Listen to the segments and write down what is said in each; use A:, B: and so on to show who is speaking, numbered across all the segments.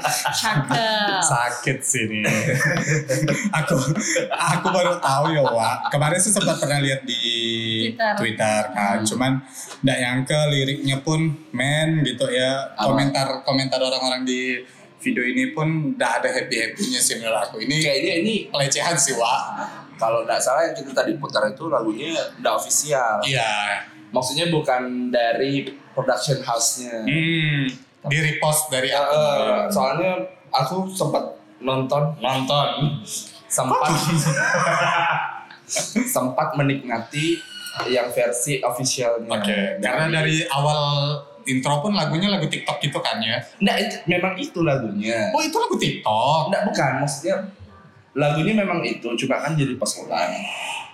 A: Cakep.
B: Sakit sih ini.
C: aku aku baru tahu ya Wak. Kemarin sih sempat pernah lihat di
A: Twitter.
C: Twitter, kan.
A: Hmm.
C: Cuman nggak nyangka liriknya pun men gitu ya.
B: Apa?
C: Komentar komentar orang-orang di video ini pun nggak ada happy happynya sih menurut aku. Ini
B: Kayaknya ini
C: pelecehan sih Wak.
B: kalau nggak salah yang kita tadi putar itu lagunya nggak official.
C: Iya.
B: Maksudnya bukan dari production house-nya.
C: Hmm. Di repost dari
B: Ya,
C: aku.
B: eh, soalnya aku sempat nonton nonton sempat sempat menikmati yang versi officialnya.
C: Oke. Karena dari awal intro pun lagunya lagu TikTok gitu kan ya.
B: Nggak, itu, memang itu lagunya.
C: Oh itu lagu TikTok.
B: Enggak bukan, maksudnya lagunya memang itu, cuma kan jadi pas ulang.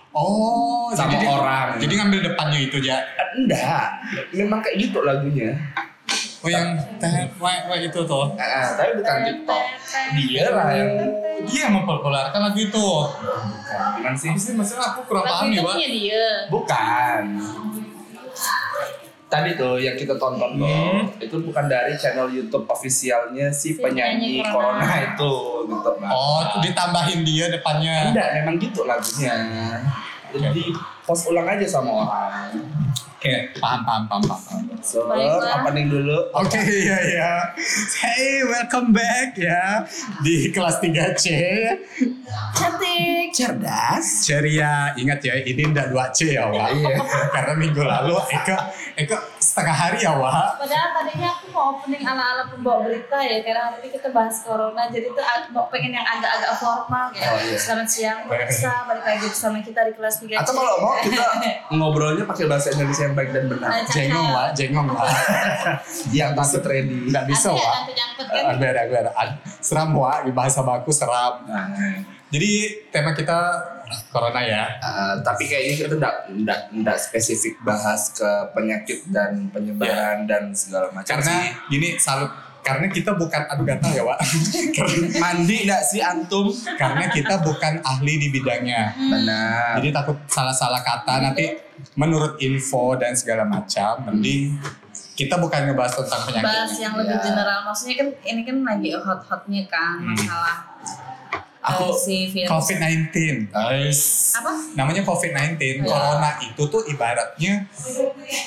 C: Oh,
B: Sama
C: jadi dia-
B: orang.
C: Jadi ngambil depannya itu aja.
B: Eh, Enggak, memang kayak gitu lagunya.
C: Oh yang teh wah wah itu tuh.
B: Ah, tapi bukan TikTok. Dia lah yang
C: Dia yang mempopulerkan lagu itu.
B: bukan. Gimana sih?
C: Tapi sih masalah aku kurang
A: Lagu
C: paham
A: itu
C: nih, Wak.
A: punya dia.
B: Bukan. Tadi tuh yang kita tonton tuh,
C: Hmm.
B: itu bukan dari channel YouTube ofisialnya
A: Si
B: si,
A: penyanyi
B: penyanyi
A: Corona.
B: Corona itu, gitu. Mbak.
C: Oh, ditambahin dia depannya.
B: Enggak, memang gitu lagunya. Jadi pos ulang aja sama orang.
C: Oke, paham paham paham paham.
B: So,
A: Baiklah.
B: opening dulu.
C: Oke, iya iya. Hey, welcome back ya di kelas 3C.
A: Cantik.
B: Cerdas.
C: Ceria, ingat ya, ini ndak 2C ya, Wak.
B: Iya.
C: Karena minggu lalu Eka Eka setengah hari ya, Wak.
A: Padahal tadinya aku mau opening ala-ala pembawa berita ya Karena hari ini kita bahas corona Jadi tuh aku mau pengen yang agak-agak formal ya
B: Oh, iya.
A: Selamat siang pemirsa Balik lagi bersama kita di kelas 3
B: Atau kalau mau kita ngobrolnya pakai bahasa Indonesia yang baik dan benar.
A: Aja.
C: Jengong, Wak, jengong, Wak.
B: Yang takut ready.
C: Ndak bisa,
A: Ada
C: Wak.
A: yang nyangkut kan
C: Aku ada, aku ada. Ad- Seram wah, di bahasa baku seram.
B: Nah,
C: Jadi tema kita corona ya.
B: Uh, tapi kayaknya kita nggak nggak nggak spesifik bahas ke penyakit dan penyebaran dan segala macam sih.
C: Karena gini salut karena kita bukan aduh gatal ya, Wak. karena,
B: mandi nggak sih antum
C: karena kita bukan ahli di bidangnya.
B: benar
C: Jadi takut salah-salah kata nanti menurut info dan segala macam mending kita bukan ngebahas tentang penyakit.
A: Bahas yang lebih
B: Iya.
A: general Maksudnya kan ini kan lagi hot-hotnya kan
C: Hmm.
A: Masalah eh,
B: Aku-
A: si virus
C: COVID-19.
A: Apa?
C: Namanya COVID-19.
A: Ya.
C: Corona itu tuh ibaratnya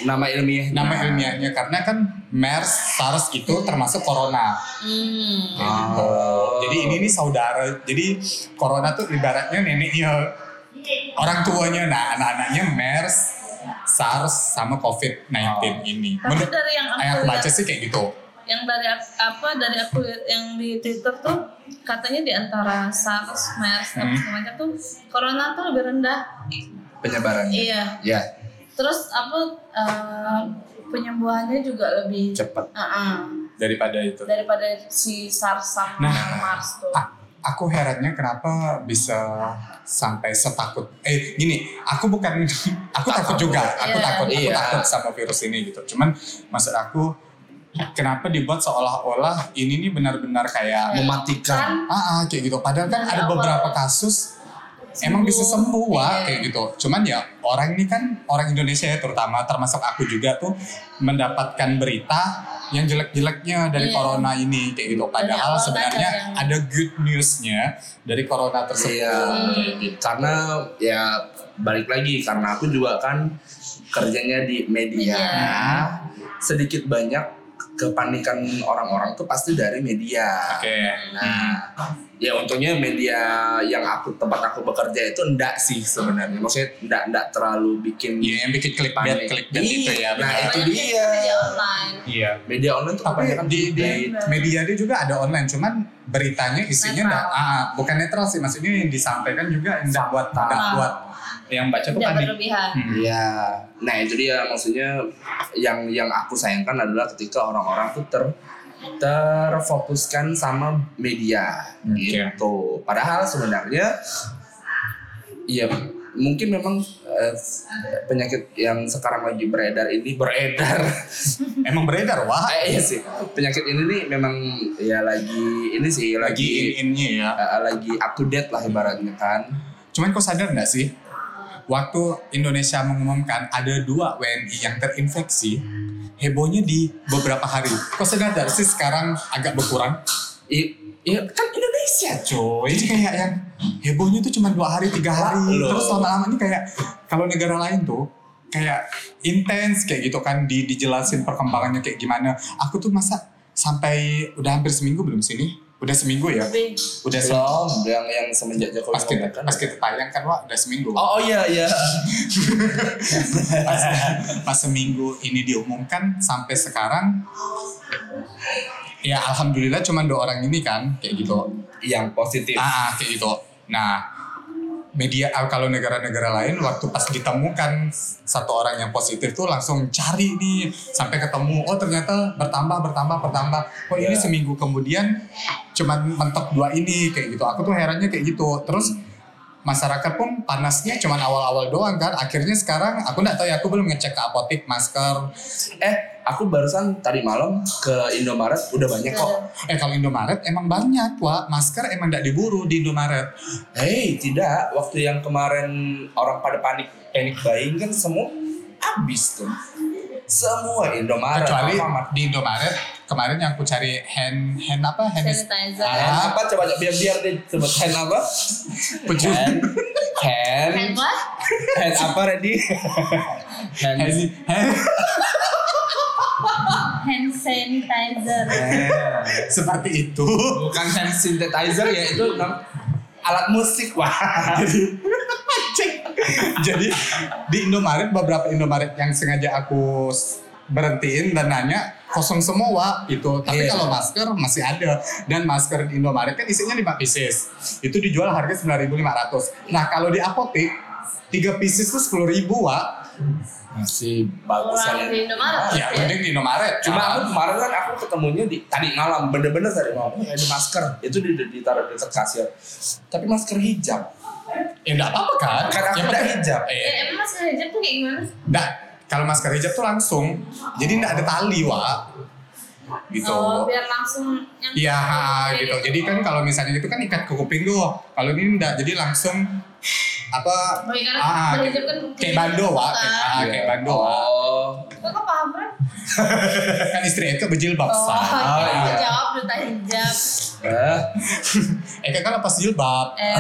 B: nama ilmiah
C: nama ilmiahnya karena kan MERS, SARS itu termasuk corona.
A: Hmm
C: Kayak gitu.
B: Oh.
C: Jadi ini nih saudara. Jadi corona tuh ibaratnya neneknya orang tuanya. Nah, anak-anaknya MERS, SARS sama COVID-19 ini.
A: Tapi
C: Menurut
A: dari yang aku
C: yang aku
A: lihat
C: baca sih kayak gitu.
A: yang dari ak- apa dari aku lihat yang di Twitter tuh katanya di antara SARS, MERS dan
C: Hmm.
A: semacam tuh corona tuh lebih rendah.
B: penyebarannya
A: Iya.
B: ya
A: Terus apa eh, penyembuhannya juga lebih
B: cepat
A: Heeh.
C: Daripada itu.
A: daripada si SARS sama
C: Nah.
A: MERS tuh.
C: A- aku herannya kenapa bisa sampai setakut eh gini aku bukan aku takut juga aku
A: Iya.
C: takut aku
B: Iya.
C: takut sama virus ini gitu cuman maksud aku kenapa dibuat seolah-olah ini nih benar-benar kayak
B: mematikan
C: ah, ah, kayak gitu padahal kan
A: Dari
C: ada
A: awal.
C: beberapa kasus emang bisa sembuh
A: Iya.
C: wah kayak gitu cuman ya orang ini kan orang Indonesia ya terutama termasuk aku juga tuh mendapatkan berita yang jelek-jeleknya dari
A: Iya.
C: corona ini kayak gitu
A: awal
C: padahal
A: kan
C: sebenarnya
A: ada yang-
C: ada good newsnya dari corona tersebut
B: Iya,
A: Hmm, gitu.
B: karena ya balik lagi karena aku juga kan kerjanya di media,
A: Media.
B: sedikit banyak kepanikan orang-orang tuh pasti dari media.
C: oke Hmm.
B: Nah, ya untungnya media yang aku tempat aku bekerja itu enggak sih sebenarnya. Maksudnya enggak enggak terlalu bikin
C: Iya, yang bikin klik bed
B: panik.
C: klik itu ya
B: Iya, nah,
C: benar.
B: itu
A: Banyak
B: dia.
A: yang media online.
C: iya
B: media online tuh
C: apa ya
B: kebanyakan
C: di, di
B: clickbait.
C: media dia juga ada online cuman beritanya isinya
A: Netral.
C: ndak ah, bukan netral sih maksudnya yang disampaikan juga ndak buat ndak
A: Ah.
C: buat yang baca tuh
A: Tidak
C: panik
A: berlebihan.
C: Hmm.
B: Iya. Nah itu dia maksudnya yang yang aku sayangkan adalah ketika orang-orang tuh ter terfokuskan sama media
C: Oke.
B: gitu. Padahal sebenarnya ya mungkin memang eh, penyakit yang sekarang lagi beredar ini beredar
C: Emang beredar wah.
B: Ah, iya sih penyakit ini nih memang ya lagi ini sih
C: Lagi
B: lagi
C: in-innya ya.
B: eh, lagi up to date lah ibaratnya kan
C: Cuman kau sadar nggak sih? Waktu Indonesia mengumumkan ada dua WNI yang terinfeksi, hebohnya di beberapa hari. Kau sadar nggak sih sekarang agak berkurang?
B: I- iya kan Indonesia
C: Coy, jadi kayak yang hebohnya tuh cuma dua hari, tiga hari.
B: Wah, loh.
C: Terus lama-lama ini kayak kalau negara lain tuh kayak intens kayak gitu kan di dijelasin perkembangannya kayak gimana. Aku tuh masa sampai udah hampir seminggu belum sini? Udah seminggu ya?
A: Tapi
C: Udah seminggu.
B: belum yang yang semenjak Jokowi
C: Pas kita,
B: ngomong kan.
C: pas kita tayang kan, Wak, udah seminggu.
B: oh, oh iya iya
C: pas, pas seminggu ini diumumkan sampai sekarang ya alhamdulillah cuma dua orang ini kan kayak gitu
B: yang positif
C: ah ah, kayak gitu nah media ah, kalau negara-negara lain waktu pas ditemukan satu orang yang positif tuh langsung cari nih sampai ketemu oh ternyata bertambah bertambah bertambah oh ini
B: Ya.
C: seminggu kemudian cuman mentok dua ini kayak gitu aku tuh herannya kayak gitu terus masyarakat pun panasnya cuman awal-awal doang kan akhirnya sekarang aku nggak tahu ya aku belum ngecek ke apotek masker
B: eh aku barusan tadi malam ke Indomaret udah banyak kok
C: eh kalau Indomaret emang banyak wah masker emang nggak diburu di Indomaret
B: Hei, tidak. Waktu yang kemarin orang pada panik, panik buying kan semua habis tuh. Semua Indomaret,
C: kecuali
B: Alfamart.
C: di Indomaret kemarin yang aku cari hand hand apa hand
A: sanitizer,
C: Ah.
B: Hand apa coba coba Kan? biar biar deh sebut hand apa?
C: Peju-
B: Hand, hand,
A: hand lah,
B: hand apa ready? hand,
C: hand, hand.
A: hand sanitizer.
B: Nah,
C: seperti itu
B: bukan hand synthesizer ya itu nam- alat musik wah.
C: jadi di Indomaret beberapa Indomaret yang sengaja aku s- berhentiin dan nanya kosong semua Wak," gitu tapi
B: Iya.
C: kalau masker masih ada dan masker di Indomaret kan isinya 5 pieces itu dijual harga 9.500 nah kalau di apotek 3 pieces tuh 10.000 Wak.
B: Masih bagus
A: Orang di
B: Ah,
A: Indomaret.
C: ya mending di Indomaret Ah,
B: Cuma aku kemarin kan aku ketemunya di tadi malam bener-bener tadi malam "Oh, ada masker itu di, di- ditaruh di dekat kasir. Tapi masker hijab.
C: ya enggak apa-apa kan
B: Karena aku
C: Yang
B: nggak
C: penting-
B: hijab.
C: Eh,
A: Ya, emang mas hijab tuh kayak gimana? sih?
C: Nggak, kalau masker hijab tuh langsung. Jadi nggak ada tali, Wak. Gitu.
A: Oh, biar langsung yang
C: Iya, gitu. Jadi kan kalau misalnya itu kan ikat ke kuping tuh. Kalau ini nggak, jadi langsung apa?
A: Oh, iya, karena
C: Ah,
A: berhijab kan
C: Kayak bando, Wak. Kayak, ah,
B: Iya.
C: kayak bando, Wak.
B: Oh.
A: Kok kok paham kan?
C: Kan istri Eka berjilbab,
A: Oh,
C: Sa.
B: Ah,
A: iya.
B: iya.
A: jawab duta hijab.
B: Eh,
C: Eka kan lepas jilbab.
A: Eh,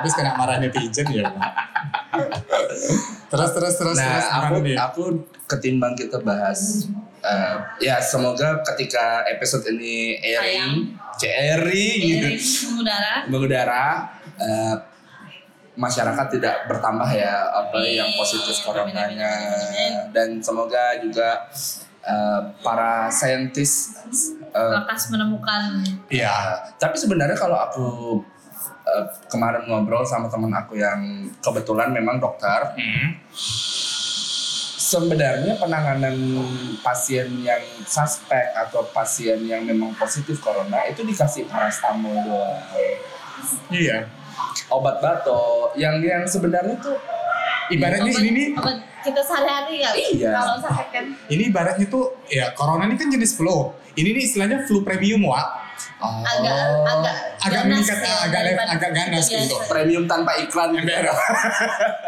C: Habis kena marah netizen ya. Wak. terus, terus, terus, terus. gimana
B: nah, aku
C: nih?
B: aku ketimbang kita bahas eh, ya semoga ketika episode ini airing, CRI
C: Iya.
B: gitu,
A: ini mengudara.
B: mengudara eh, masyarakat tidak bertambah ya apa
A: Amin.
B: yang positif
A: Amin,
B: coronanya
A: amin,
B: dan semoga juga eh, para saintis eh,
A: Lekas menemukan
C: Iya.
B: tapi sebenarnya kalau aku eh, kemarin ngobrol sama teman aku yang kebetulan memang dokter
C: Hmm.
B: sebenarnya penanganan pasien yang suspek atau pasien yang memang positif corona itu dikasih paracetamol doang.
C: Iya.
B: obat batuk yang yang sebenarnya tuh
C: Ibaratnya
A: Iya,
C: Nah, ini nih
A: obat kita sehari-hari ya.
B: Iya.
A: Kalau sakit kan.
C: Ini ibaratnya tuh ya corona ini kan jenis flu. Ini nih istilahnya flu premium wak.
B: oh,
A: agak agak
C: Agak
A: ganas
C: meningkat,
A: ya,
C: agak
A: daripada
C: agak ganas
A: biasa.
C: gitu.
B: premium tanpa iklan
C: Ember.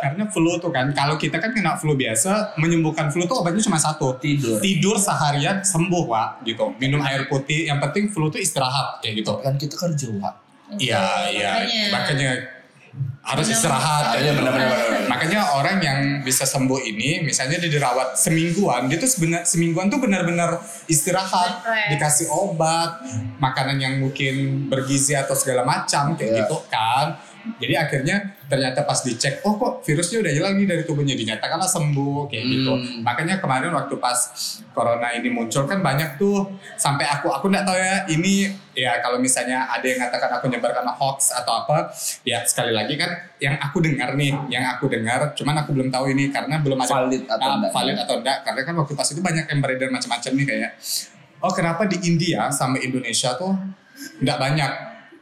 C: Karena flu tuh kan kalau kita kan kena flu biasa menyembuhkan flu tuh obatnya cuma satu.
B: tidur
C: Tidur seharian sembuh wak gitu. Minum air putih. Yang penting flu tuh istirahat kayak gitu.
B: kan kita kerja Wak.
C: Iya iya. Makanya harus
A: Benar-benar.
C: istirahat. kayak
B: Iya,
C: gitu.
B: benar-benar, benar-benar.
C: Makanya orang yang bisa sembuh ini, misalnya dia dirawat semingguan, dia tuh sebenar semingguan tuh benar-benar istirahat,
A: Refresh.
C: dikasih obat, makanan yang mungkin bergizi atau segala macam kayak
B: Iya.
C: gitu kan. Jadi akhirnya ternyata pas dicek, oh kok virusnya udah hilang nih dari tubuhnya dinyatakanlah sembuh kayak
B: Hmm.
C: gitu. Makanya kemarin waktu pas corona ini muncul kan banyak tuh sampai aku aku nggak tahu ya ini ya kalau misalnya ada yang ngatakan aku nyebar karena hoax atau apa, ya sekali lagi kan yang aku dengar nih, yang aku dengar, cuman aku belum tahu ini karena belum ada
B: valid atau
C: Ah,
B: enggak
C: valid atau enggak karena kan waktu pas itu banyak yang beredar macam-macam nih kayak oh kenapa di India sama Indonesia tuh nggak banyak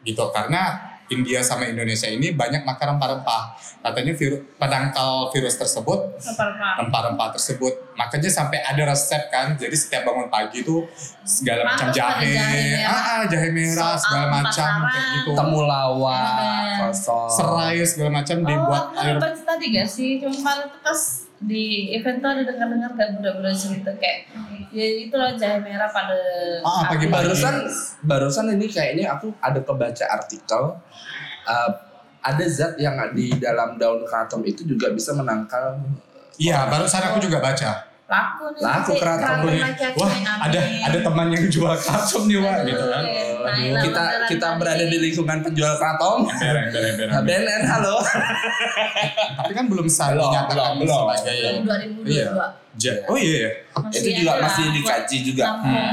C: gitu karena India sama Indonesia ini banyak makan rempah-rempah katanya viru- penangkal virus tersebut
A: Apa-apa.
C: rempah-rempah tersebut makanya sampai ada resep kan jadi setiap bangun pagi tuh segala macam
A: Masuk ada
C: jahe
A: jahe merah.
C: ah, ah, jahe merah
A: Soal
C: segala macam kayak
A: pasaran.
C: gitu
B: temulawak,
A: Ada.
B: kosong.
C: serai segala macam dibuat
A: oh,
C: air
A: aku baca tadi gak sih? Cuma kemarin tuh pas di event tuh ada dengar-dengar gak bunda-bunda cerita kayak ya itulah jahe merah pada
C: Ah, pagi-pagi.
B: Barusan barusan ini kayaknya aku ada kebaca artikel eh, ada zat yang di dalam daun kratom itu juga bisa menangkal
C: iya barusan aku juga baca
A: laku nih
B: Laku
A: nanti
B: keraton.
A: keraton
C: Aku-
A: laki-laki
C: wah
A: yang
C: ada
A: aneh.
C: ada teman yang jual kalsum nih wah
A: Aduh,
C: gitu kan
A: nah,
B: Eh,
A: itulah beneran
B: kita kita
A: tadi.
B: berada di lingkungan penjual kratom.
C: ember ember ember
B: Nah,
C: ember.
B: BNN halo.
C: tapi kan belum sah
B: Belum,
C: dinyatakan
B: belum, belum.
C: sebagai
A: Tahun 2022
C: Iya. ja- oh iya iya.
A: Masih
B: itu juga
A: ada
B: masih
A: lah.
B: dikaji juga.
A: Kampung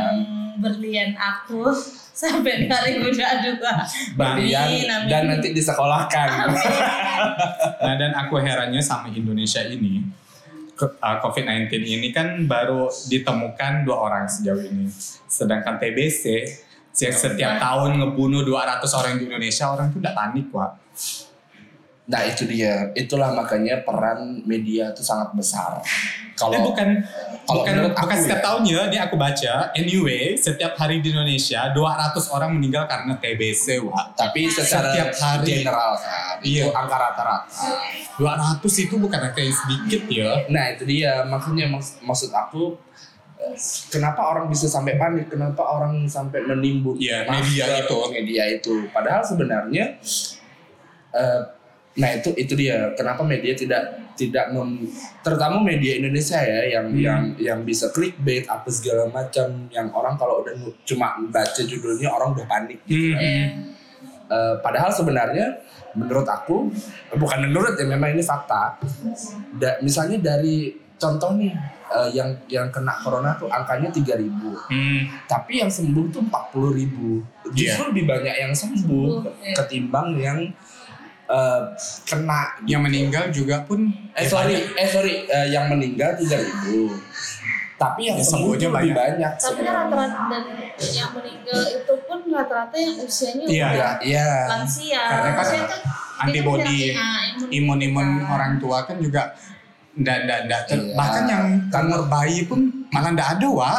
A: berlian aku sampai 2022
B: Berlian
A: Amin, amin.
B: dan nanti disekolahkan.
C: nah dan aku herannya sama Indonesia ini ke- uh, COVID-19 ini kan baru ditemukan dua orang sejauh ini sedangkan TBC yang setiap tahun ngebunuh 200 orang di Indonesia orang tuh udah panik Wak
B: Nah itu dia, itulah makanya peran media itu sangat besar.
C: Eh,
B: Kalau
C: bukan
B: kalau
C: bukan,
B: menurut
C: bukan
B: aku
C: setiap
B: ya.
C: tahunnya ini aku baca anyway setiap hari di Indonesia 200 orang meninggal karena TBC Wak
B: tapi secara
C: Setiap hari.
B: general kan, itu
C: Iya.
B: angka rata-rata.
C: 200 itu bukan angka yang sedikit ya
B: Nah itu dia, makanya maks- maksud aku eh, kenapa orang bisa sampai panik, kenapa orang sampai menimbun
C: Iya,
B: masker,
C: media itu.
B: media itu. Padahal sebenarnya, eh, nah itu itu dia, kenapa media tidak tidak mem, terutama media Indonesia ya yang
C: Hmm.
B: yang yang bisa clickbait apa segala macam yang orang kalau udah nu- cuma baca judulnya orang udah panik. hmm,
A: Eh,
C: Hmm.
B: Eh, padahal sebenarnya menurut aku bukan menurut ya memang ini fakta. Da- misalnya dari contoh nih eh, yang yang kena corona tuh angkanya 3000,
C: Hmm.
B: tapi yang sembuh tuh 40.000.
C: Iya.
B: Justru lebih banyak yang sembuh
A: Sembuh, iya.
B: ketimbang yang eh, kena.
C: yang meninggal juga pun ya
B: Eh sorry,
C: banyak.
B: eh sorry, eh, yang meninggal 3000. Tapi yang
C: Ya, sembuhnya
B: sembuh tuh lebih
C: banyak.
B: banyak.
A: tapi kan rata-rata dan yang meninggal itu pun rata-rata yang usianya
C: Iya.
A: udah
B: Ya, iya.
A: lansia
C: Karena kan
A: Maksudnya kan ah,
C: antibody,
A: ya.
C: imun imun orang tua kan juga ndak ndak ndak ter-
B: Iya.
C: bahkan yang
B: Karena-
C: kanker bayi pun malah ndak ada wa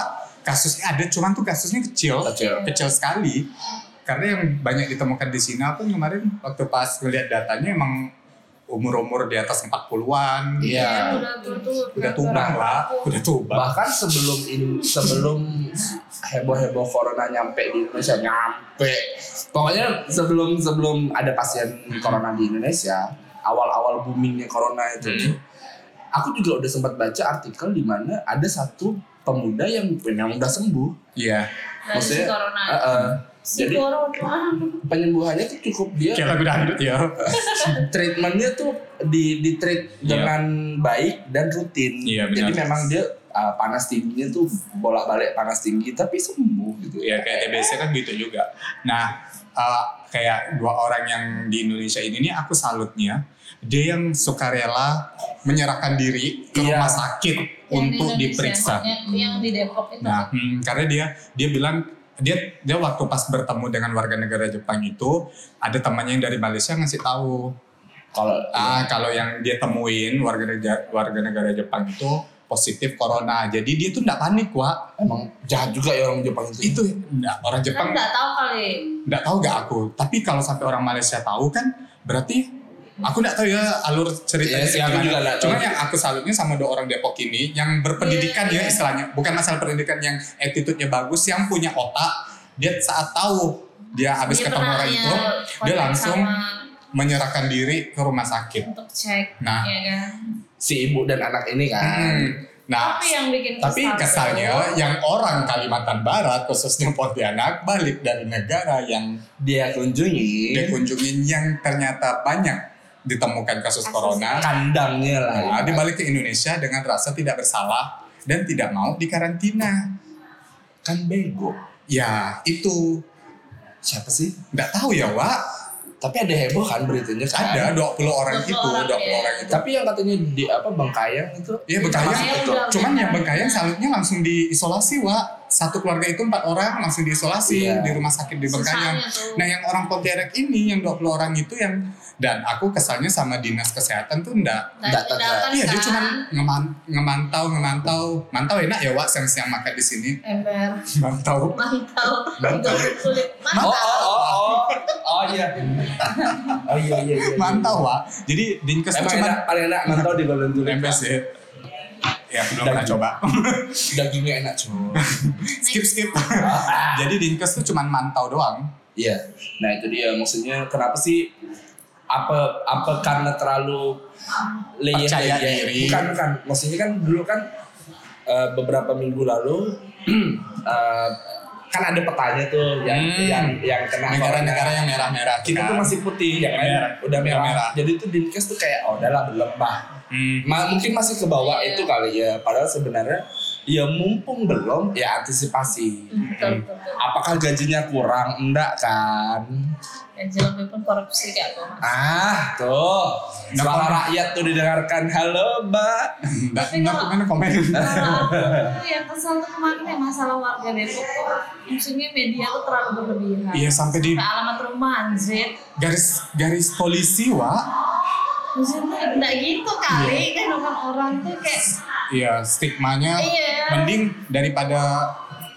C: kasusnya ada cuman tuh kasusnya kecil
B: Kecil.
C: kecil sekali karena yang banyak ditemukan di Cina pun kemarin waktu pas ngelihat datanya emang umur-umur di atas 40-an
A: ya,
B: Iya.
A: udah Nah, tua
C: udah tumbang lah udah tumbang
B: bahkan sebelum in- sebelum heboh-heboh corona nyampe di Indonesia nyampe pokoknya sebelum sebelum ada pasien corona di Indonesia awal-awal boomingnya corona itu
C: Hmm.
B: aku juga udah sempat baca artikel di mana ada satu pemuda yang memang udah sembuh
C: iya
A: dari si
B: Maksudnya,
A: corona
B: Eh, eh,
A: si
B: jadi-
A: corona
B: penyembuhannya tuh cukup dia
C: kayak lagu dangdut ya
B: treatmentnya tuh di di treat
C: Iya.
B: dengan baik dan rutin
C: Iya,
B: jadi
C: benar.
B: memang dia eh, panas tingginya tuh bolak-balik panas tinggi tapi sembuh gitu
A: Iya.
C: ya kayak TBC kan gitu juga. Nah, eh, kayak dua orang yang di Indonesia ini nih aku salutnya. Dia yang sukarela menyerahkan diri ke
B: Iya.
C: rumah sakit
A: Yang di
C: untuk
A: Indonesia,
C: diperiksa.
A: yang, yang di Depok itu Kan
C: Nah, hmm, karena dia dia bilang dia dia waktu pas bertemu dengan warga negara Jepang itu ada temannya yang dari Malaysia ngasih tahu
B: kalau
A: Iya.
C: ah kalau yang dia temuin warga negara warga negara Jepang itu positif corona. Jadi dia tuh nggak panik, Wak.
B: emang jahat juga ya orang Jepang itu.
C: Itu nggak- orang
A: kan
C: Jepang
A: nggak tahu kali
C: nggak tahu gak aku tapi kalau sampai orang Malaysia tahu kan berarti aku nggak tahu ya alur ceritanya
B: Iya sih, aku
C: gimana.
B: juga nggak tahu.
C: Cuma yang aku salutnya sama dua orang Depok ini yang berpendidikan
A: Iya, iya.
C: ya istilahnya bukan masalah pendidikan yang attitude-nya bagus yang punya otak dia saat tahu dia habis
A: Dia
C: ketemu
A: pernah
C: orang
A: ya
C: itu dia
A: kontak
C: langsung
A: sama
C: menyerahkan diri ke rumah sakit
A: untuk cek
C: nah
A: ya kan
B: si ibu dan anak ini
A: Iya.
C: hmm,
B: kan
C: nah
A: tapi yang bikin gitu?
C: tapi
A: kesal
C: kesalnya
A: tuh,
C: yang orang Kalimantan Barat khususnya Pontianak balik dari negara yang
B: dia kunjungi
C: dia kunjungin yang ternyata banyak ditemukan kasus
A: Kasus.
C: corona.
B: kandangnya lah
C: Nah, dia balik ke Indonesia dengan rasa tidak bersalah dan tidak mau dikarantina.
B: kan bego
C: Ya, itu
B: siapa sih
C: nggak tahu ya, Wak.
B: Tapi ada heboh kan beritanya kan?
C: Ada 20 orang itu,
A: 20
C: 20
A: orang, ya.
C: orang itu.
B: Tapi yang katanya di apa Bangkayang itu?
C: Iya, Bengkayang.
B: termasuk itu.
A: Udah.
C: Cuman yang Bengkayang salutnya langsung diisolasi, Wak. Satu keluarga itu empat orang langsung diisolasi
B: Iya.
C: di rumah sakit di Bengkayang.
A: Susahnya tuh.
C: Nah yang orang Pontianak ini yang 20 orang itu yang dan aku kesannya sama dinas kesehatan tuh enggak
A: Nah,
B: data-
A: tindakan
C: Iya dia
A: kan,
C: cuma ngeman, ngemantau ngemantau mantau enak ya Wak siang-siang makan di sini
A: ember
C: mantau
A: mantau
B: Mantau.
A: Untuk kulit mantau
B: Oh, oh, oh, oh, oh iya. Oh iya iya iya.
C: mantau Wak jadi dinkes tuh
B: Emang
C: cuma
B: enak, paling enak mantau di Golden Tulip.
C: lembes ya ya belum
B: Dan-
C: pernah coba
B: Dagingnya enak cuy.
C: skip skip
B: Nah,
C: jadi dinkes tuh cuma mantau doang
B: Iya. Nah itu dia maksudnya kenapa sih apa apa karena terlalu layer
C: Percaya
B: layer
C: diri.
B: bukan bukan maksudnya kan dulu kan eh, beberapa minggu lalu eh, kan ada petanya tuh yang
C: Hmm.
B: yang yang kena
C: negara-negara
B: corona.
C: yang merah-merah
B: kita tuh
C: kan.
B: masih putih yang lain
C: Merah.
B: udah merah.
C: Merah.
B: jadi tuh dinkes tuh kayak oh udahlah berlembah
C: Hmm.
B: Ma- mungkin masih ke bawah
A: Iya.
B: itu kali ya padahal sebenarnya ya mumpung belum ya antisipasi
A: Betul, betul, betul.
B: apakah gajinya kurang enggak kan
A: Dan Jelmi Ya, pun korupsi kayak aku.
B: Ah, tuh. Suara
C: Nah,
B: rakyat tuh didengarkan. Halo, Mbak.
C: nggak
A: Tapi
C: nggak
A: kalau-
C: komen komen
A: Kalau aku tuh yang kesel tuh kemarin ya masalah warga Depok tuh maksudnya media tuh terlalu berlebihan.
C: Iya, sampai di-
A: alamat rumah anjir.
C: garis garis polisi Wak
A: Maksudnya enggak gitu kali kan orang-orang tuh kayak
C: Iya, stigmanya
A: Iya.
C: mending daripada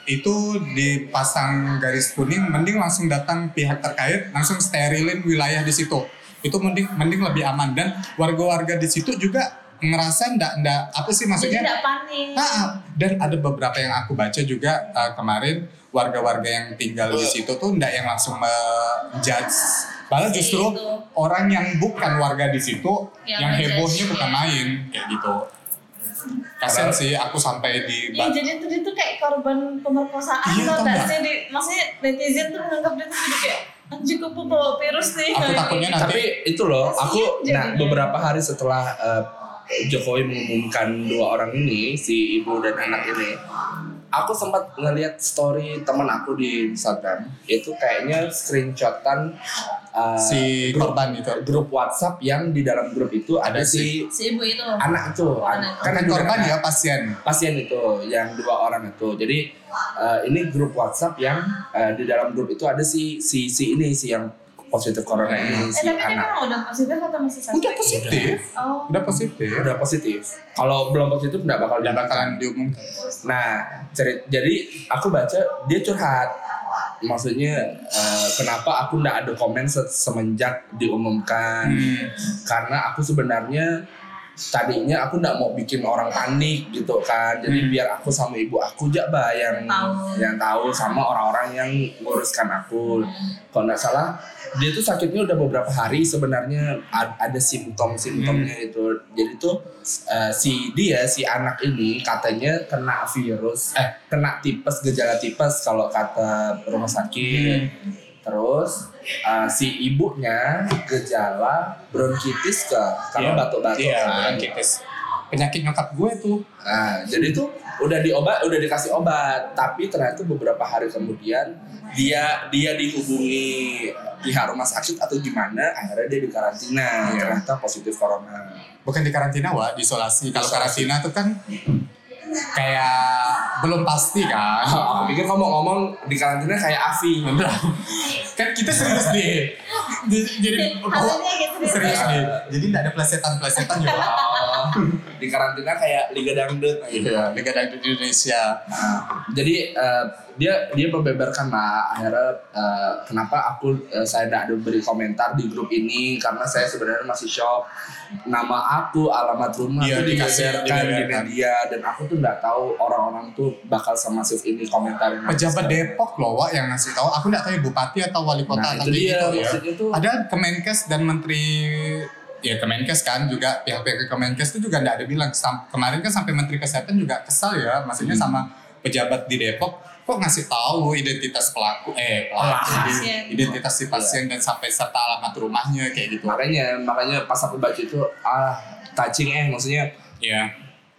C: itu dipasang garis kuning, mending langsung datang pihak terkait, langsung sterilin wilayah di situ. Itu mending mending lebih aman dan warga-warga di situ juga ngerasa ndak ndak apa sih
A: jadi
C: maksudnya?
A: enggak panik.
C: Ah, ah. dan ada beberapa yang aku baca juga eh, kemarin warga-warga yang tinggal di situ tuh ndak yang langsung menjudge malah
A: Si
C: justru
A: itu.
C: orang yang bukan warga di situ
A: Yang
C: gitu. yang
A: menjudge,
C: hebohnya bukan
A: iya.
C: main kayak gitu kasian sih aku sampai di
A: Iya jadi tuh dia tuh kayak korban pemerkosaan
C: Iya,
A: tau
C: tau
A: gak
C: nggak?
A: sih? Di- maksudnya netizen tuh menganggap dia tuh jadi kayak anjir kupu bawa virus nih. gitu.
C: aku takutnya nanti
B: Tapi itu loh, aku
A: Kasian
B: nah
A: jadinya.
B: beberapa hari setelah eh, Jokowi mengumumkan dua orang ini, si ibu dan anak ini, aku sempat ngeliat story teman aku di Instagram, itu kayaknya screenshotan eh,
C: si
B: grup,
C: korban itu
B: grup WhatsApp yang di dalam grup itu ada
C: Ada
B: si
A: si ibu itu.
B: anak itu,
A: Anak.
B: kan
C: kan
B: ada
C: korban
B: anak.
C: ya pasien
B: pasien itu yang dua orang itu jadi eh, ini grup WhatsApp yang eh, di dalam grup itu ada si si si ini si yang positif corona
A: Eh
B: ini si
A: tapi dia
B: anak
A: emang udah positif atau masih sakit?
C: udah positif
A: Oh.
C: udah positif
B: udah positif kalau belum positif nggak bakal
C: udah
B: dimakan
C: bakalan diumumkan
B: nah ceri- jadi aku baca dia curhat maksudnya eh, kenapa aku nggak ada komen se- semenjak diumumkan
C: Hmm.
B: karena aku sebenarnya tadinya aku nggak mau bikin orang panik gitu kan jadi
C: Hmm.
B: biar aku sama ibu aku aja bah yang
A: Tahu.
B: yang tahu sama orang-orang yang nguruskan aku kalau nggak salah dia tuh sakitnya udah beberapa hari sebenarnya A- ada simptom-simptomnya
C: Hmm.
B: itu jadi tuh eh, si dia si anak ini katanya kena virus eh kena tipes gejala tipes kalau kata rumah sakit
C: Hmm.
B: Terus uh, si ibunya gejala bronkitis ke karena
C: Iya.
B: batuk-batuk
C: Iya,
B: kan.
C: bronkitis. Penyakit nyokap gue tuh.
B: Nah, jadi tuh udah diobat, udah dikasih obat, tapi ternyata beberapa hari kemudian dia dia dihubungi pihak rumah sakit atau gimana, akhirnya dia dikarantina
C: Iya.
B: ternyata positif corona.
C: Bukan di karantina, Wak, di isolasi. Kalau
B: Isolasi.
C: karantina tuh kan kayak belum pasti kan.
B: Aku pikir kamu ngomong di karantina kayak Avi.
C: kan kita serius deh. Di- Jadi oh,
A: Hasilnya gitu deh.
C: serius deh. Jadi enggak ada plesetan-plesetan ya, Wak.
B: Oh, di karantina kayak Liga Dangdut gitu.
C: Iya, Liga Dangdut Indonesia.
B: Nah, jadi eh, dia dia membeberkan lah akhirnya eh, kenapa aku eh, saya tidak ada beri komentar di grup ini karena saya sebenarnya masih shock nama aku alamat rumah
C: Iya,
B: tuh
C: dikasih,
B: dibeberkan di
C: dibeberkan.
B: media dan aku tuh nggak tahu orang-orang tuh bakal semasif ini komentar
C: Pejabat Depok loh, Wak, yang ngasih tahu. Aku enggak tahu ya bupati atau wali kota
B: nah,
C: atau
B: itu dia
C: gitu ya.
B: maksudnya tuh
C: ada Kemenkes dan Menteri ya Kemenkes kan juga pihak-pihak Kemenkes itu juga nggak ada bilang Sam- kemarin kan sampai Menteri Kesehatan juga kesal ya maksudnya sama pejabat di Depok kok ngasih tahu identitas pelaku eh pelaku
A: Pasien.
C: identitas si pasien dan sampai serta alamat rumahnya kayak gitu
B: makanya makanya pas aku baca itu ah touching eh maksudnya
C: ya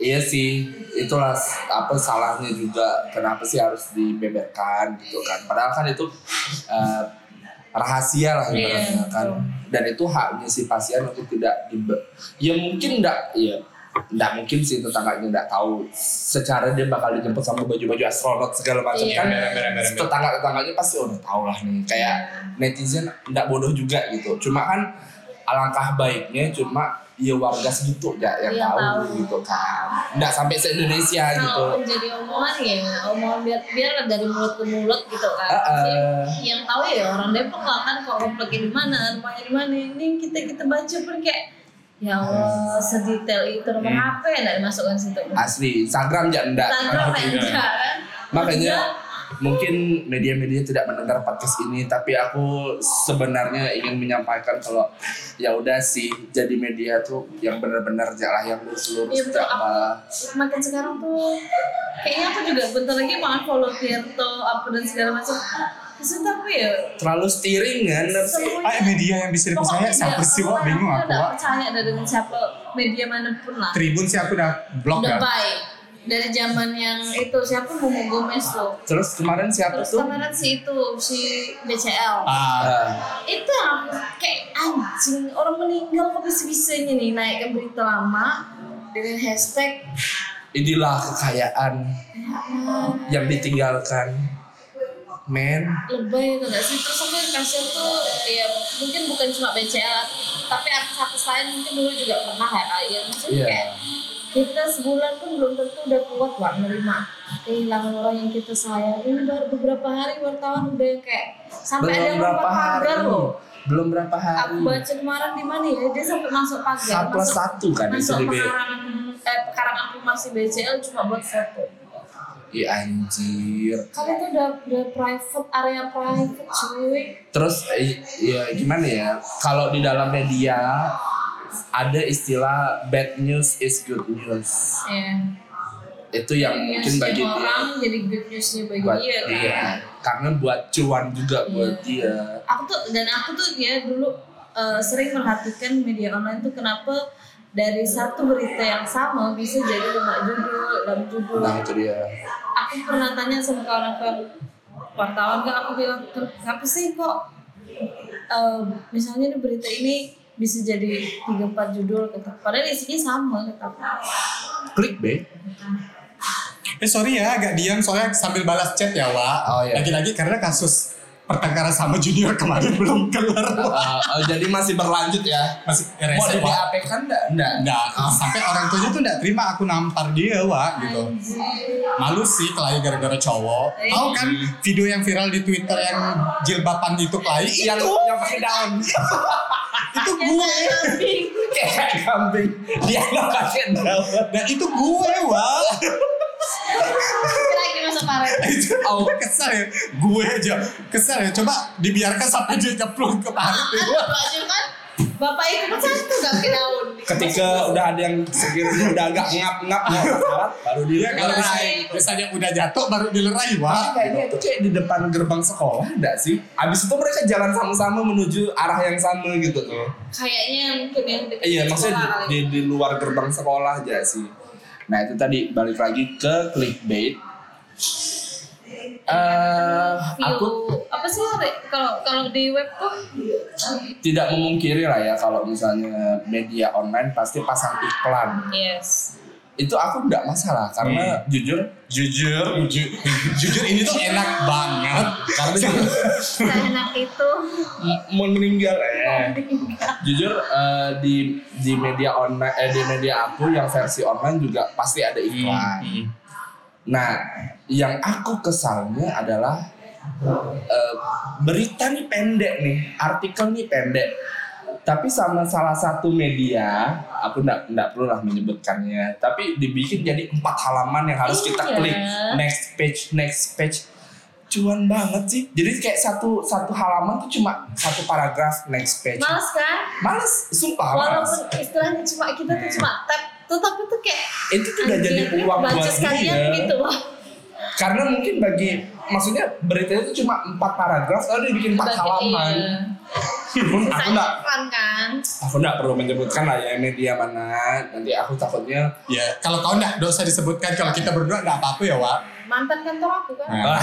B: Iya sih, itulah s- apa salahnya juga kenapa sih harus dibeberkan gitu kan. Padahal kan itu eh, rahasia lah
A: Iya,
B: ibaratnya kan
A: betul.
B: dan itu haknya si pasien untuk tidak di ya mungkin enggak ya enggak mungkin sih tetangganya enggak tahu secara dia bakal dijemput sama baju-baju astronot segala macam
A: Iya.
B: kan
C: bener-bener.
B: tetangga-tetangganya pasti "Oh, udah tau lah nih kayak netizen enggak bodoh juga gitu cuma kan alangkah baiknya cuma ya warga segitu ya yang
A: Iya,
B: tahu,
A: tahu.
B: gitu kan enggak sampai se Indonesia gitu
A: kalau menjadi omongan ya omongan biar biar dari mulut ke mulut gitu kan Tapi
B: Heeh.
A: yang tahu ya orang Depok lah kan kok kompleknya di mana rumahnya di mana ini kita kita baca pun kayak ya Allah sedetail itu nomor
C: Hmm.
A: HP enggak dimasukkan situ
B: asli Instagram ya enggak
A: Instagram
C: Aduh,
A: aja
C: tidak.
A: kan
B: Makanya mungkin media-media tidak mendengar podcast ini, tapi aku sebenarnya ingin menyampaikan kalau ya udah sih jadi media tuh yang benar-benar jalan yang lurus-lurus
A: Iya, betul.
B: nggak malah.
A: makin sekarang tuh kayaknya aku juga bentar lagi mau unfollow Tirto apa dan segala macam Maksud aku ya
B: terlalu steering kan.
A: semuanya
C: Ah, media yang bisa diriku saya siapa sih wah bingung aku
A: Gak
C: wah.
A: percaya ada dengan siapa media manapun lah
C: Tribun sih aku udah blok
A: Udah
C: ya. dah.
A: baik dari zaman yang itu siapa Momo Gomez tuh
B: Terus kemarin siapa
A: terus
B: tuh?
A: kemarin si itu si BCL
C: Ah,
B: Ah,
A: itu yang aku kayak anjing orang meninggal kok bisa bisanya nih naikkan berita lama dengan hashtag
B: inilah kekayaan
A: "Ah,
B: yang ditinggalkan. Men,
A: lebay itu nggak sih terus aku yang kasihan tuh ya mungkin bukan cuma BCL tapi artis-artis lain mungkin dulu juga pernah ya Kak. ya maksudnya
B: Iya.
A: kayak kita sebulan pun belum tentu udah kuat lah menerima kehilangan orang yang kita sayang ini baru beberapa hari wartawan udah yang kayak sampai ada
B: belum
A: yang
B: berapa
A: lompat
B: hari,
A: pagar loh
B: belum berapa hari.
A: aku baca kemarin di mana ya dia sampai masuk pagar
B: Satu plus
A: masuk
B: satu kan di
A: masuk
B: CDB.
A: pekarangan eh pekarangan rumah si BCL cuma buat foto
B: Ih Iya, anjir.
A: kalian tuh udah udah private area private cuy
B: Terus eh, ya gimana ya? Kalau di dalam media ada istilah bad news is good news.
A: ya
B: Itu yang Iya, mungkin
A: Newsnya
B: bagi dia
A: Iya, orang jadi good newsnya bagi
B: buat
A: dia kan.
B: iya. Karena buat cuan juga buat
A: Iya.
B: dia.
A: Aku tuh dan aku tuh ya dulu eh, sering perhatikan media online tuh kenapa dari satu berita yang sama bisa jadi lima judul, enam judul.
B: Nah itu dia.
A: Aku pernah tanya sama kawan-kawan wartawan kan aku bilang "Ken- kenapa sih kok eh, misalnya di berita ini bisa jadi tiga empat judul kata. Padahal isinya sama kata. aku.
B: Klik B.
C: eh sorry ya agak diam soalnya sambil balas chat ya Wak.
B: Oh, iya.
C: Lagi-lagi karena kasus pertengkaran sama junior kemarin belum kelar. Wak.
B: Eh, jadi masih berlanjut ya.
C: Masih
B: Mau
C: rese
B: di
C: Wak.
B: BAP kan enggak? Enggak.
C: Nggak, sampai orang tuanya tuh nggak terima aku nampar dia Wak gitu.
A: Anjir.
C: malu sih kelahi gara-gara cowok
A: Eh.
C: tahu kan video yang viral di twitter yang jilbaban itu kelahi
B: Yang
C: itu
B: yang pakai daun.
C: itu
A: Yang
C: gue
A: saya kambing.
B: Kayak kambing. Dia nggak pakai daun.
C: dan Nah, itu gue wah
A: Kita lagi masuk paret.
C: itu
B: Oh.
C: kesel ya gue aja kesel ya coba dibiarkan sampai dia nyeplung ke parit
A: Kan bapaknya kan bapak itu kan satu gak pakai daun.
B: ketika udah ada yang sekiranya udah agak ngap-ngap mau kesalahan baru dia
C: dia kalau misalnya,
A: Lerai.
C: misalnya udah jatuh baru dilerai
B: Tapi
C: wah
B: kayaknya itu kayak di depan gerbang sekolah enggak sih? Abis itu mereka jalan sama-sama menuju arah yang sama gitu tuh.
A: Kayaknya mungkin yang dekat
B: Iya,
A: sekolah
B: maksudnya
A: kali.
B: di, di, di luar gerbang sekolah aja sih. Nah itu tadi balik lagi ke clickbait. Eh,
A: View.
B: aku
A: apa sih Re? kalau kalau di web tuh
B: tidak memungkiri lah ya kalau misalnya media online pasti pasang iklan.
A: yes
B: Itu aku nggak masalah karena jujur, jujur,
C: ju- jujur ini tuh enak banget
B: karena
A: seenak itu
B: mau meninggal eh jujur eh, di di media online eh, di media aku yang versi online juga pasti ada iklan nah yang aku kesalnya adalah eh, berita nih pendek nih artikel nih pendek tapi sama salah satu media aku ndak ndak perlu lah menyebutkannya tapi dibikin jadi empat halaman yang harus kita
A: Iya.
B: klik next page next page cuan banget sih jadi kayak satu satu halaman tuh cuma satu paragraf next page
A: males kan
B: males sumpah males
A: walaupun istilahnya cuma kita tuh cuma tap tuh tapi tuh kayak
B: itu tuh udah jadi
A: anjing,
B: uang
A: baca
B: buat
A: sekalian
B: dia
A: gitu wah
B: karena mungkin bagi maksudnya beritanya itu cuma empat paragraf lalu dia bikin empat
A: Baca-
B: halaman
A: iya.
B: aku
A: Sisanya
B: nggak
A: fun kan.
B: aku nggak perlu menyebutkan lah ya media mana nanti aku takutnya
C: Ya, kalau kau enggak dosa disebutkan kalau kita berdua enggak apa-apa ya, Wak.
A: Mantan kantor aku kan.
C: Nah.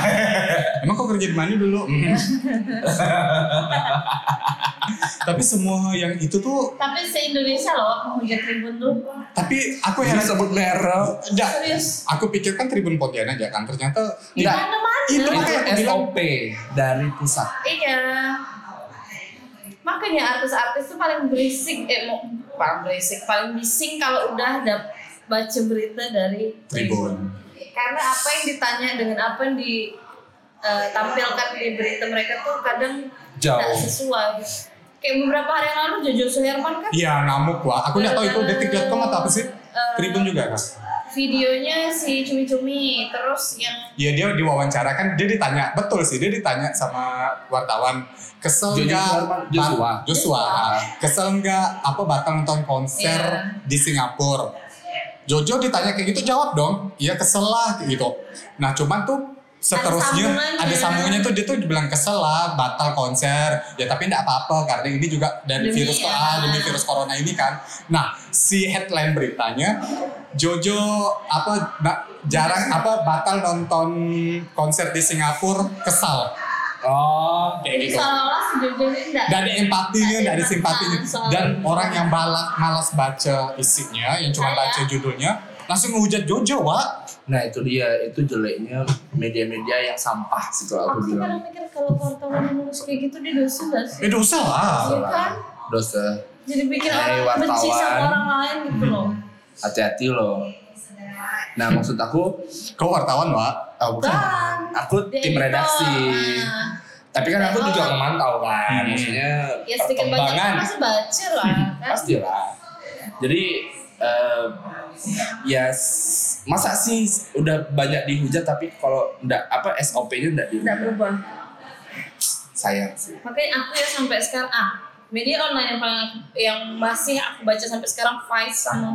C: Emang kau kerja di mana dulu? Hmm. tapi semua yang itu tuh
A: Tapi se-Indonesia loh penghujat tribun tuh.
C: tapi aku
B: aku yang
C: heran
B: sebut merek
C: enggak.
A: Serius.
C: Aku pikir kan Tribun Pontianak aja kan ternyata
A: Di
B: Nggak.
A: mana-mana.
C: Itu
B: itu
C: makanya aku bilang-
B: SOP dari pusat
A: Iya. Makanya artis-artis tuh paling berisik, eh mau paling berisik, paling bising kalau udah dap- baca berita dari
C: Tribun.
A: Karena apa yang ditanya dengan apa yang ditampilkan di berita mereka tuh kadang tidak
B: jauh
A: sesuai. Kayak beberapa hari yang lalu Jojo Suherman kan
C: Iya, ngamuk Wak. Aku enggak tahu itu
A: Eh,
C: detik.com atau apa sih?
A: eh,
C: Tribun juga kan?
A: videonya si cumi-cumi terus yang
C: Ya dia diwawancara kan dia ditanya betul sih dia ditanya sama wartawan kesel
B: Jojo
C: nggak
B: Suherman,
C: Bat-
B: Joshua.
C: Joshua kesel nggak apa batal nonton konser
A: Iya.
C: di Singapura Jojo ditanya kayak gitu jawab dong iya kesel lah kayak gitu nah cuman tuh seterusnya
A: sambungannya.
C: ada sambungannya tuh dia tuh bilang kesel lah batal konser ya tapi nggak apa-apa karena ini juga dari
A: Demi,
C: virus
A: ya.
C: ah, demi virus corona ini kan nah si headline beritanya Jojo apa na- jarang apa batal nonton konser di Singapura kesal
B: oh
C: kayak gitu
A: seolah-olah si Jojo ini tidak
C: Gak ada empatinya, gak ada simpatinya Dan orang yang balak, malas baca isinya Yang cuma baca judulnya Langsung ngehujat Jojo, Wak
B: nah itu dia itu jeleknya media-media yang sampah sih
A: aku tuh
B: kalau aku
A: kadang
B: bilang
A: mikir kalau wartawan yang nulis kayak gitu dia dosa gak sih?
C: Ya dosa lah
A: Iya kan?
B: dosa
A: Jadi bikin
B: Hai,
A: orang benci sama
B: wartawan. Hmm.
A: orang lain gitu loh.
B: hati-hati loh nah maksud aku
C: Kau wartawan, Wak
B: oh, bukan
A: Bukan.
B: aku
A: Dia
B: tim
A: editor.
B: redaksi
A: Nah,
B: tapi kan aku juga
A: Oh.
B: memantau kan
C: Hmm.
B: maksudnya
A: ya sedikit banyak
B: perkembangan Hmm.
A: kan pasti baca lah kan?
B: pastilah jadi eh, ya s- masa sih udah banyak dihujat tapi kalau ndak apa SOP-nya ndak
A: Tidak
B: dihujat
A: berubah.
B: sayang sih
A: Makanya aku ya sampai sekarang ah media online yang paling aku- yang masih aku baca sampai sekarang Vice sama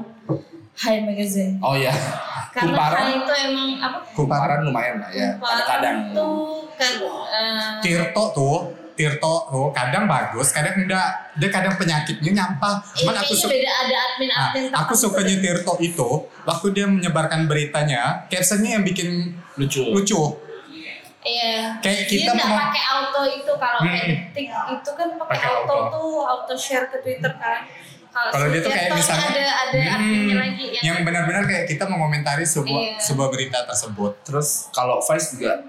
A: High Magazine.
B: oh
C: iya.
B: ya
A: Karena
B: kumparan
A: High itu emang apa?
B: kumparan lumayan lah ya kadang-kadang
A: Kumparan tuh kan eh,
C: Tirto tuh Tirto tuh kadang bagus, kadang enggak Dia kadang penyakitnya nyampah
A: Ini
C: Cuman aku
A: kayaknya
C: suka
A: beda ada gitu. admin
C: Nah,
B: Ah,
A: admin
C: aku sukanya Tirto itu waktu dia menyebarkan beritanya, captionnya yang bikin
B: lucu
C: lucu.
A: Iya.
C: Kayak
A: Dia
C: kita
A: nggak
C: mau-
A: pakai auto itu kalau kayak
C: Hmm.
A: detik itu kan pakai
C: Pakai
A: auto,
C: auto.
A: tuh auto share ke Twitter kan.
C: Kalau dia tuh
A: setiap
C: kayak
A: tahun
C: misalnya
A: ada ada
C: hmm,
A: adminnya lagi yang,
C: yang benar-benar kayak kita mengomentari
A: Iya.
C: sebuah sebuah berita tersebut.
B: terus kalau Vice juga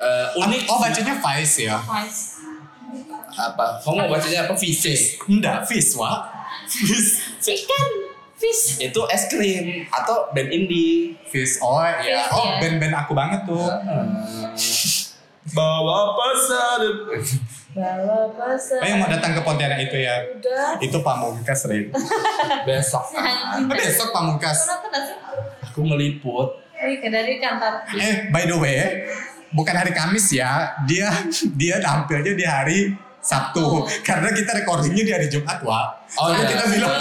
B: eh, unik
C: Oh bacanya Vice ya?
A: Vice.
B: apa kamu mau bacanya apa Vice
C: Enggak, Vice Wak. Vice.
A: Ikan fish.
B: itu es krim atau band indie
C: Vice, oh
A: Vice,
C: ya. Oh
A: ya.
C: band-band aku banget tuh.
B: Iya. bawa pasar
A: Bawa pasar.
C: Oh yang mau datang ke Pontianak itu ya?
A: Udah.
C: Itu Pamungkas, Rin.
B: besok
A: Hanya
C: Eh, Besok Pamungkas.
A: Nonton nggak sih?
B: aku ngeliput
A: Wih, dari kantor.
C: Eh, by the way, bukan hari Kamis ya. Dia dia tampilnya di hari Sabtu.
A: Sabtu.
C: Karena kita recordingnya di hari Jumat, Wak. Oh,
B: iya.
C: kita bilang.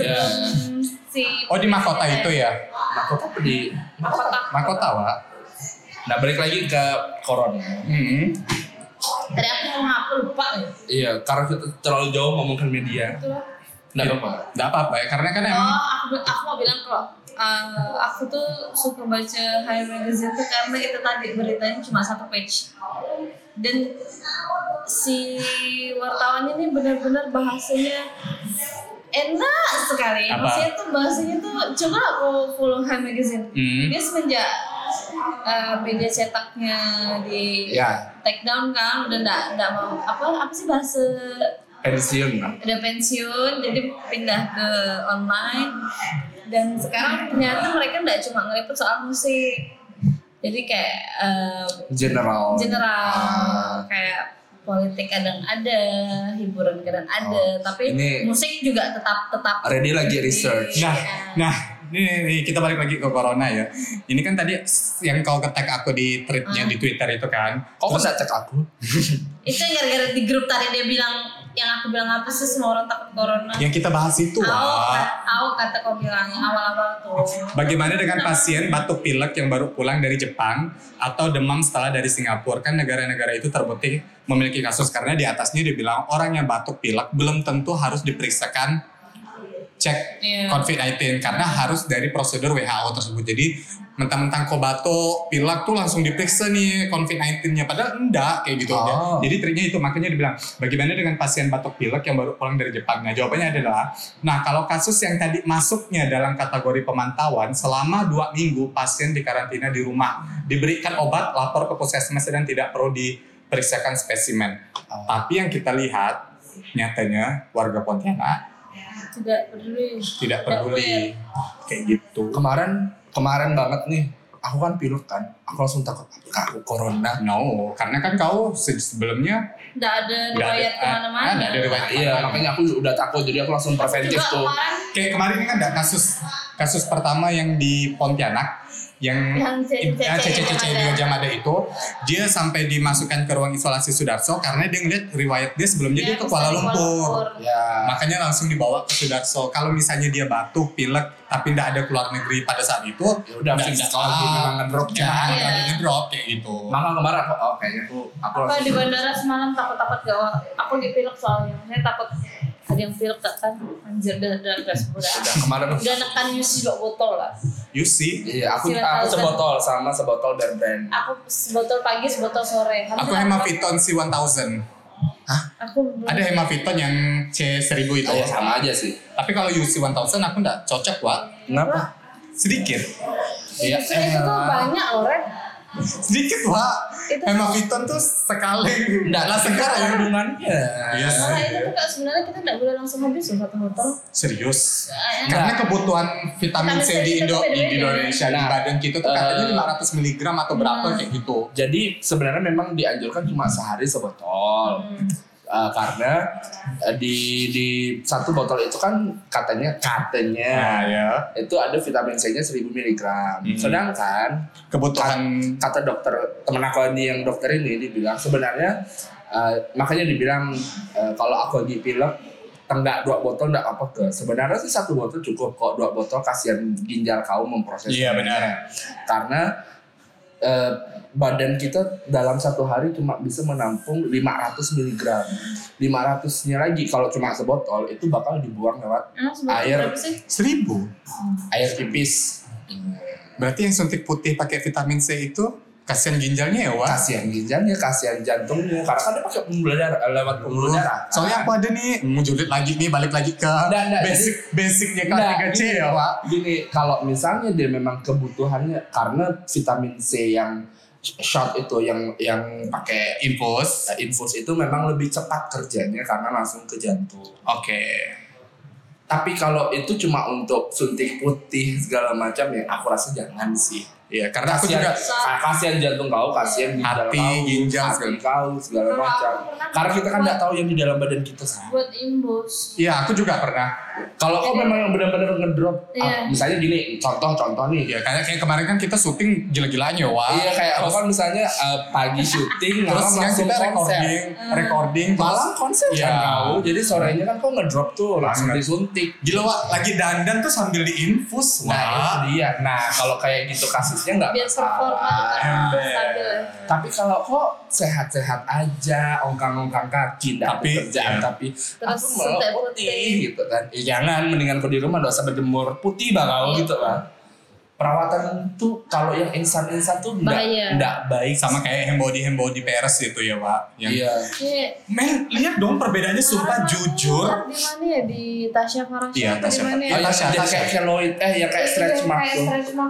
B: Iya.
A: Hmm, si
C: Oh, di mahkota itu ya?
B: Mahkota apa di
A: Mahkota.
C: Mahkota, Wak.
B: Nah balik lagi ke corona.
C: Hmm.
A: Tadi aku mau ngapa lupa ya.
B: Iya, karena kita terlalu jauh ngomongkan media. Nah,
A: Itu lah.
B: Nggak apa-apa.
C: Nggak apa-apa ya, karena kan emang...
A: Oh, aku, aku mau bilang kalau uh, aku tuh suka baca High Magazine tuh karena itu tadi beritanya cuma satu page. Dan si wartawan ini benar-benar bahasanya enak sekali.
C: Apa?
A: Maksudnya tuh bahasanya tuh coba aku follow High Magazine.
C: Hmm.
A: Dia semenjak uh, media cetaknya di
B: Ya,
A: take down kan udah ndak ndak mau apa apa sih bahasa
B: pensiun. lah.
A: udah pensiun jadi pindah ke online dan sekarang ternyata mereka nggak cuma ngeliput soal musik jadi kayak eh,
B: General.
A: general
B: Ah,
A: kayak politik kadang ada hiburan kadang ada
B: Oh,
A: tapi
B: ini-
A: musik juga tetap tetap
B: Ready lagi research.
C: Nah,
A: Iya.
C: nah, ini, ini kita balik lagi ke corona ya. Ini kan tadi yang kau ketek aku di tweetnya
A: Hmm.
C: di Twitter itu kan.
B: Kok nggak cek aku?
A: itu yang gara-gara di grup tadi dia bilang yang aku bilang apa sih semua orang takut corona
C: Yang kita bahas itu,
B: Ya,
A: Aku
C: Wak.
A: aku kata kau bilangnya awal-awal tuh
C: Bagaimana dengan pasien batuk pilek yang baru pulang dari Jepang atau demam setelah dari Singapura? Kan negara-negara itu terbukti memiliki kasus karena di atasnya dibilang orang yang batuk pilek belum tentu harus diperiksakan cek
A: Iya.
C: COVID-19 karena harus dari prosedur WHO tersebut. Jadi mentang-mentang kau batuk pilek tuh langsung diperiksa nih COVID-19-nya padahal enggak kayak gitu.
B: Oh.
C: Jadi triknya itu makanya dibilang bagaimana dengan pasien batuk pilek yang baru pulang dari Jepang? Nah, jawabannya adalah nah kalau kasus yang tadi masuknya dalam kategori pemantauan selama dua minggu pasien dikarantina di rumah, diberikan obat, lapor ke puskesmas dan tidak perlu diperiksakan spesimen.
B: Oh.
C: Tapi yang kita lihat nyatanya warga Pontianak
A: tidak peduli
C: tidak peduli kayak gitu.
B: kemarin kemarin banget nih aku kan pilek kan aku langsung takut apakah aku corona
C: No, karena kan kau se- sebelumnya
A: tidak ada
C: nggak ah,
A: riwayat kemana-mana
C: nggak ada riwayat
B: iya
C: kemana-mana.
B: makanya aku udah takut jadi aku langsung preventif
A: juga
B: tuh
A: kemarin
C: Kayak kemarin kan ada kasus kasus pertama yang di Pontianak yang ah,
D: Yang cece-
C: yang cece-cece di
D: Jamada.
C: Jamada itu dia sampai dimasukkan ke ruang isolasi Sudarso karena dia ngeliat riwayat dia sebelumnya dia,
A: Iya,
C: ke
A: bisa
C: Kuala
A: di
C: Lumpur.
B: ya
C: Makanya langsung dibawa ke Sudarso. Kalau misalnya dia batuk, pilek, tapi tidak ada keluar negeri pada saat itu,
B: ya udah
C: nggak
B: fix
C: bisa.
B: kalau aku memang ngedrop
C: ya,
B: kan
A: Iya.
C: lagi ngedrop kayak gitu.
B: maka kemarin aku oh kayaknya aku aku
A: apa di
B: langsung
A: bandara semalam takut-takut gak Wak? aku di pilek soalnya saya takut ada yang pilek gak kan anjir dah dah dah sepura
B: udah kemarin
A: udah nekan UC dua botol lah
C: You see,
B: iya aku
A: Silakan.
B: aku sebotol sama sebotol bear brand
A: aku sebotol pagi sebotol sore Habis
C: aku
A: itu
C: hemaviton C1000.
A: aku
C: Ada hemaviton yang C1000 itu.
B: ya sama aja sih
C: Tapi kalau you see 1000 aku nggak cocok, Wak.
B: kenapa
C: Sedikit.
B: Iya,
A: Iya, itu tuh
B: elah.
A: banyak loh, Ren.
C: Iya. Sedikit, Wak.
A: Itu
C: Hemaviton tuh sekali. Nggak lah
B: sekarang
C: sekarang.
B: hubungannya
C: Iya sih.
A: Karena itu tuh Kak, sebenarnya kita nggak boleh langsung habis loh satu botol.
C: Serius.
A: Nah,
C: Karena kebutuhan vitamin C di, Indo
A: Vitamin C
C: di
A: kita
C: Indonesia di
B: beda-beda.
C: badan kita tuh
B: Eh.
C: katanya 500 mg atau berapa
A: Hmm.
C: kayak gitu.
B: jadi sebenarnya memang dianjurkan cuma sehari sebotol
A: Hmm.
B: Eh, karena eh, di di satu botol itu kan katanya katanya
C: ya.
B: itu ada vitamin C-nya 1000 mg.
C: Hmm.
B: Sedangkan
C: Kebutuhan
B: kata dokter temen aku ini yang dokter ini dibilang sebenarnya eh, makanya dibilang eh, kalau aku lagi pilek tenggak dua botol enggak apa ke sebenarnya sih satu botol cukup kok dua botol kasihan ginjal kau memproses
C: Iya, benar.
B: karena eh, badan kita dalam satu hari cuma bisa menampung 500 mg 500 nya lagi kalau cuma sebotol itu bakal dibuang lewat
A: Emang sebotol berapa
B: Air.
A: sih?
C: 1000.
B: air pipis
C: Hmm. Berarti yang suntik putih pakai vitamin C itu kasihan ginjalnya ya, Wak.
B: kasihan ginjalnya kasihan jantungnya karena kan dia pakai pembuluh darah lewat pembuluh darah Nah, kan?
C: Soalnya aku ada nih, mau julid lagi nih, balik lagi ke
B: Nggak, nggak,
C: basic basicnya ke
B: Nggak,
C: 3C
B: gini.
C: ya, Wak.
B: gini kalau misalnya dia memang kebutuhannya karena vitamin C yang shot itu yang yang pakai
C: Infus.
B: eh, infus itu memang lebih cepat kerjanya karena langsung ke jantung
C: Oke.
B: tapi kalau itu cuma untuk suntik putih segala macam ya aku rasa jangan sih
C: Iya, karena aku
B: Kasihan-
C: juga
B: ka- kasihan jantung kau kasihan ginjal
C: Hati,
B: kau
C: ginjal,
B: hati kau segala
A: Kalau
B: macam
A: aku pernah
B: karena kita kan
A: buat-
B: nggak tahu yang di dalam badan kita Sa.
A: Buat imbus.
C: Iya, aku juga pernah.
B: Kalau kau memang yang benar-benar ngedrop,
A: Iya.
B: ah, misalnya gini, contoh-contoh nih.
C: Iya, kayak kayak kemarin kan kita syuting gila-gilaan ya, Wak.
B: Iya kayak aku
C: Terus-
B: kan misalnya eh, pagi syuting,
C: Terus
B: malam
C: yang
B: langsung
C: kita
B: konser.
C: recording, recording terus-
B: Malam konser
C: Iya.
B: kan kau, jadi sorenya kan kau ngedrop tuh langsung
C: Banget.
B: disuntik.
C: Gila wak, lagi dandan tuh sambil diinfus
B: Nah
C: wak.
B: itu dia. Nah kalau kayak gitu kasusnya nggak
A: Biar performa
B: masalah.
A: tetap
C: Ember.
A: stabil. ya.
B: Tapi kalau kok sehat-sehat aja, ongkang-ongkang kaki, nggak ada
C: Tapi,
B: kerjaan,
C: iya.
B: tapi
A: Terus
B: aku mau
A: suntik
B: putih
A: putih.
B: gitu kan. Eh, jangan, mendingan kau di rumah nggak usah berjemur putih bakal
A: Iya.
B: gitu lah. Perawatan tuh kalau yang instan-instan tuh nggak
A: Bahaya.
B: nggak baik.
C: Sama kayak hembody hembody peres gitu ya wak. Yang
B: Iya.
A: Iya.
C: Men, lihat dong perbedaannya
A: Mana?
C: sumpah
A: Di
C: jujur.
A: mana ya di Tasya Farah?
C: Iya, Tasya
A: Farah.
B: Oh,
C: Iya,
B: yang
C: Tasya,
B: yang
C: Tasya.
B: kayak keloid, eh yang
A: Iya,
B: kayak stretch mark tuh.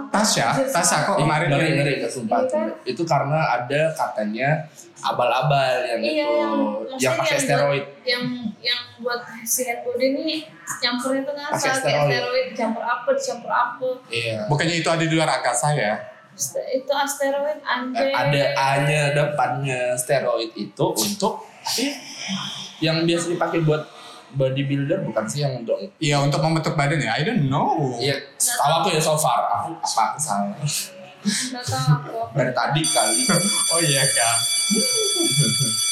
C: Tasya, Tasya kok kemarin
B: ngeri,
C: yang-
B: ngeri, nggak, sumpah.
A: Iya kan?
B: Itu karena ada katanya abal-abal yang
A: Iya,
B: itu,
A: yang-
B: Oh, yang
A: maksudnya
B: pakai
A: yang
B: steroid.
A: yang yang buat si handphone ini campurnya tuh kan
B: Pakai
A: pakai
B: steroid.
A: steroid campur apa campur apa
B: Iya.
C: Bukannya itu ada di luar angkasa ya?
A: Ste- itu asteroid anjir
B: Eh, Ada A-nya depannya steroid itu untuk eh, yang biasa dipakai buat bodybuilder bukan sih yang untuk
C: Iya untuk membentuk badan ya. I don't know.
B: Iya, tahu aku ya so far aku apa aku salah
A: nggak tahu aku
C: 啊
B: dari tadi kali.
C: Oh iya kak.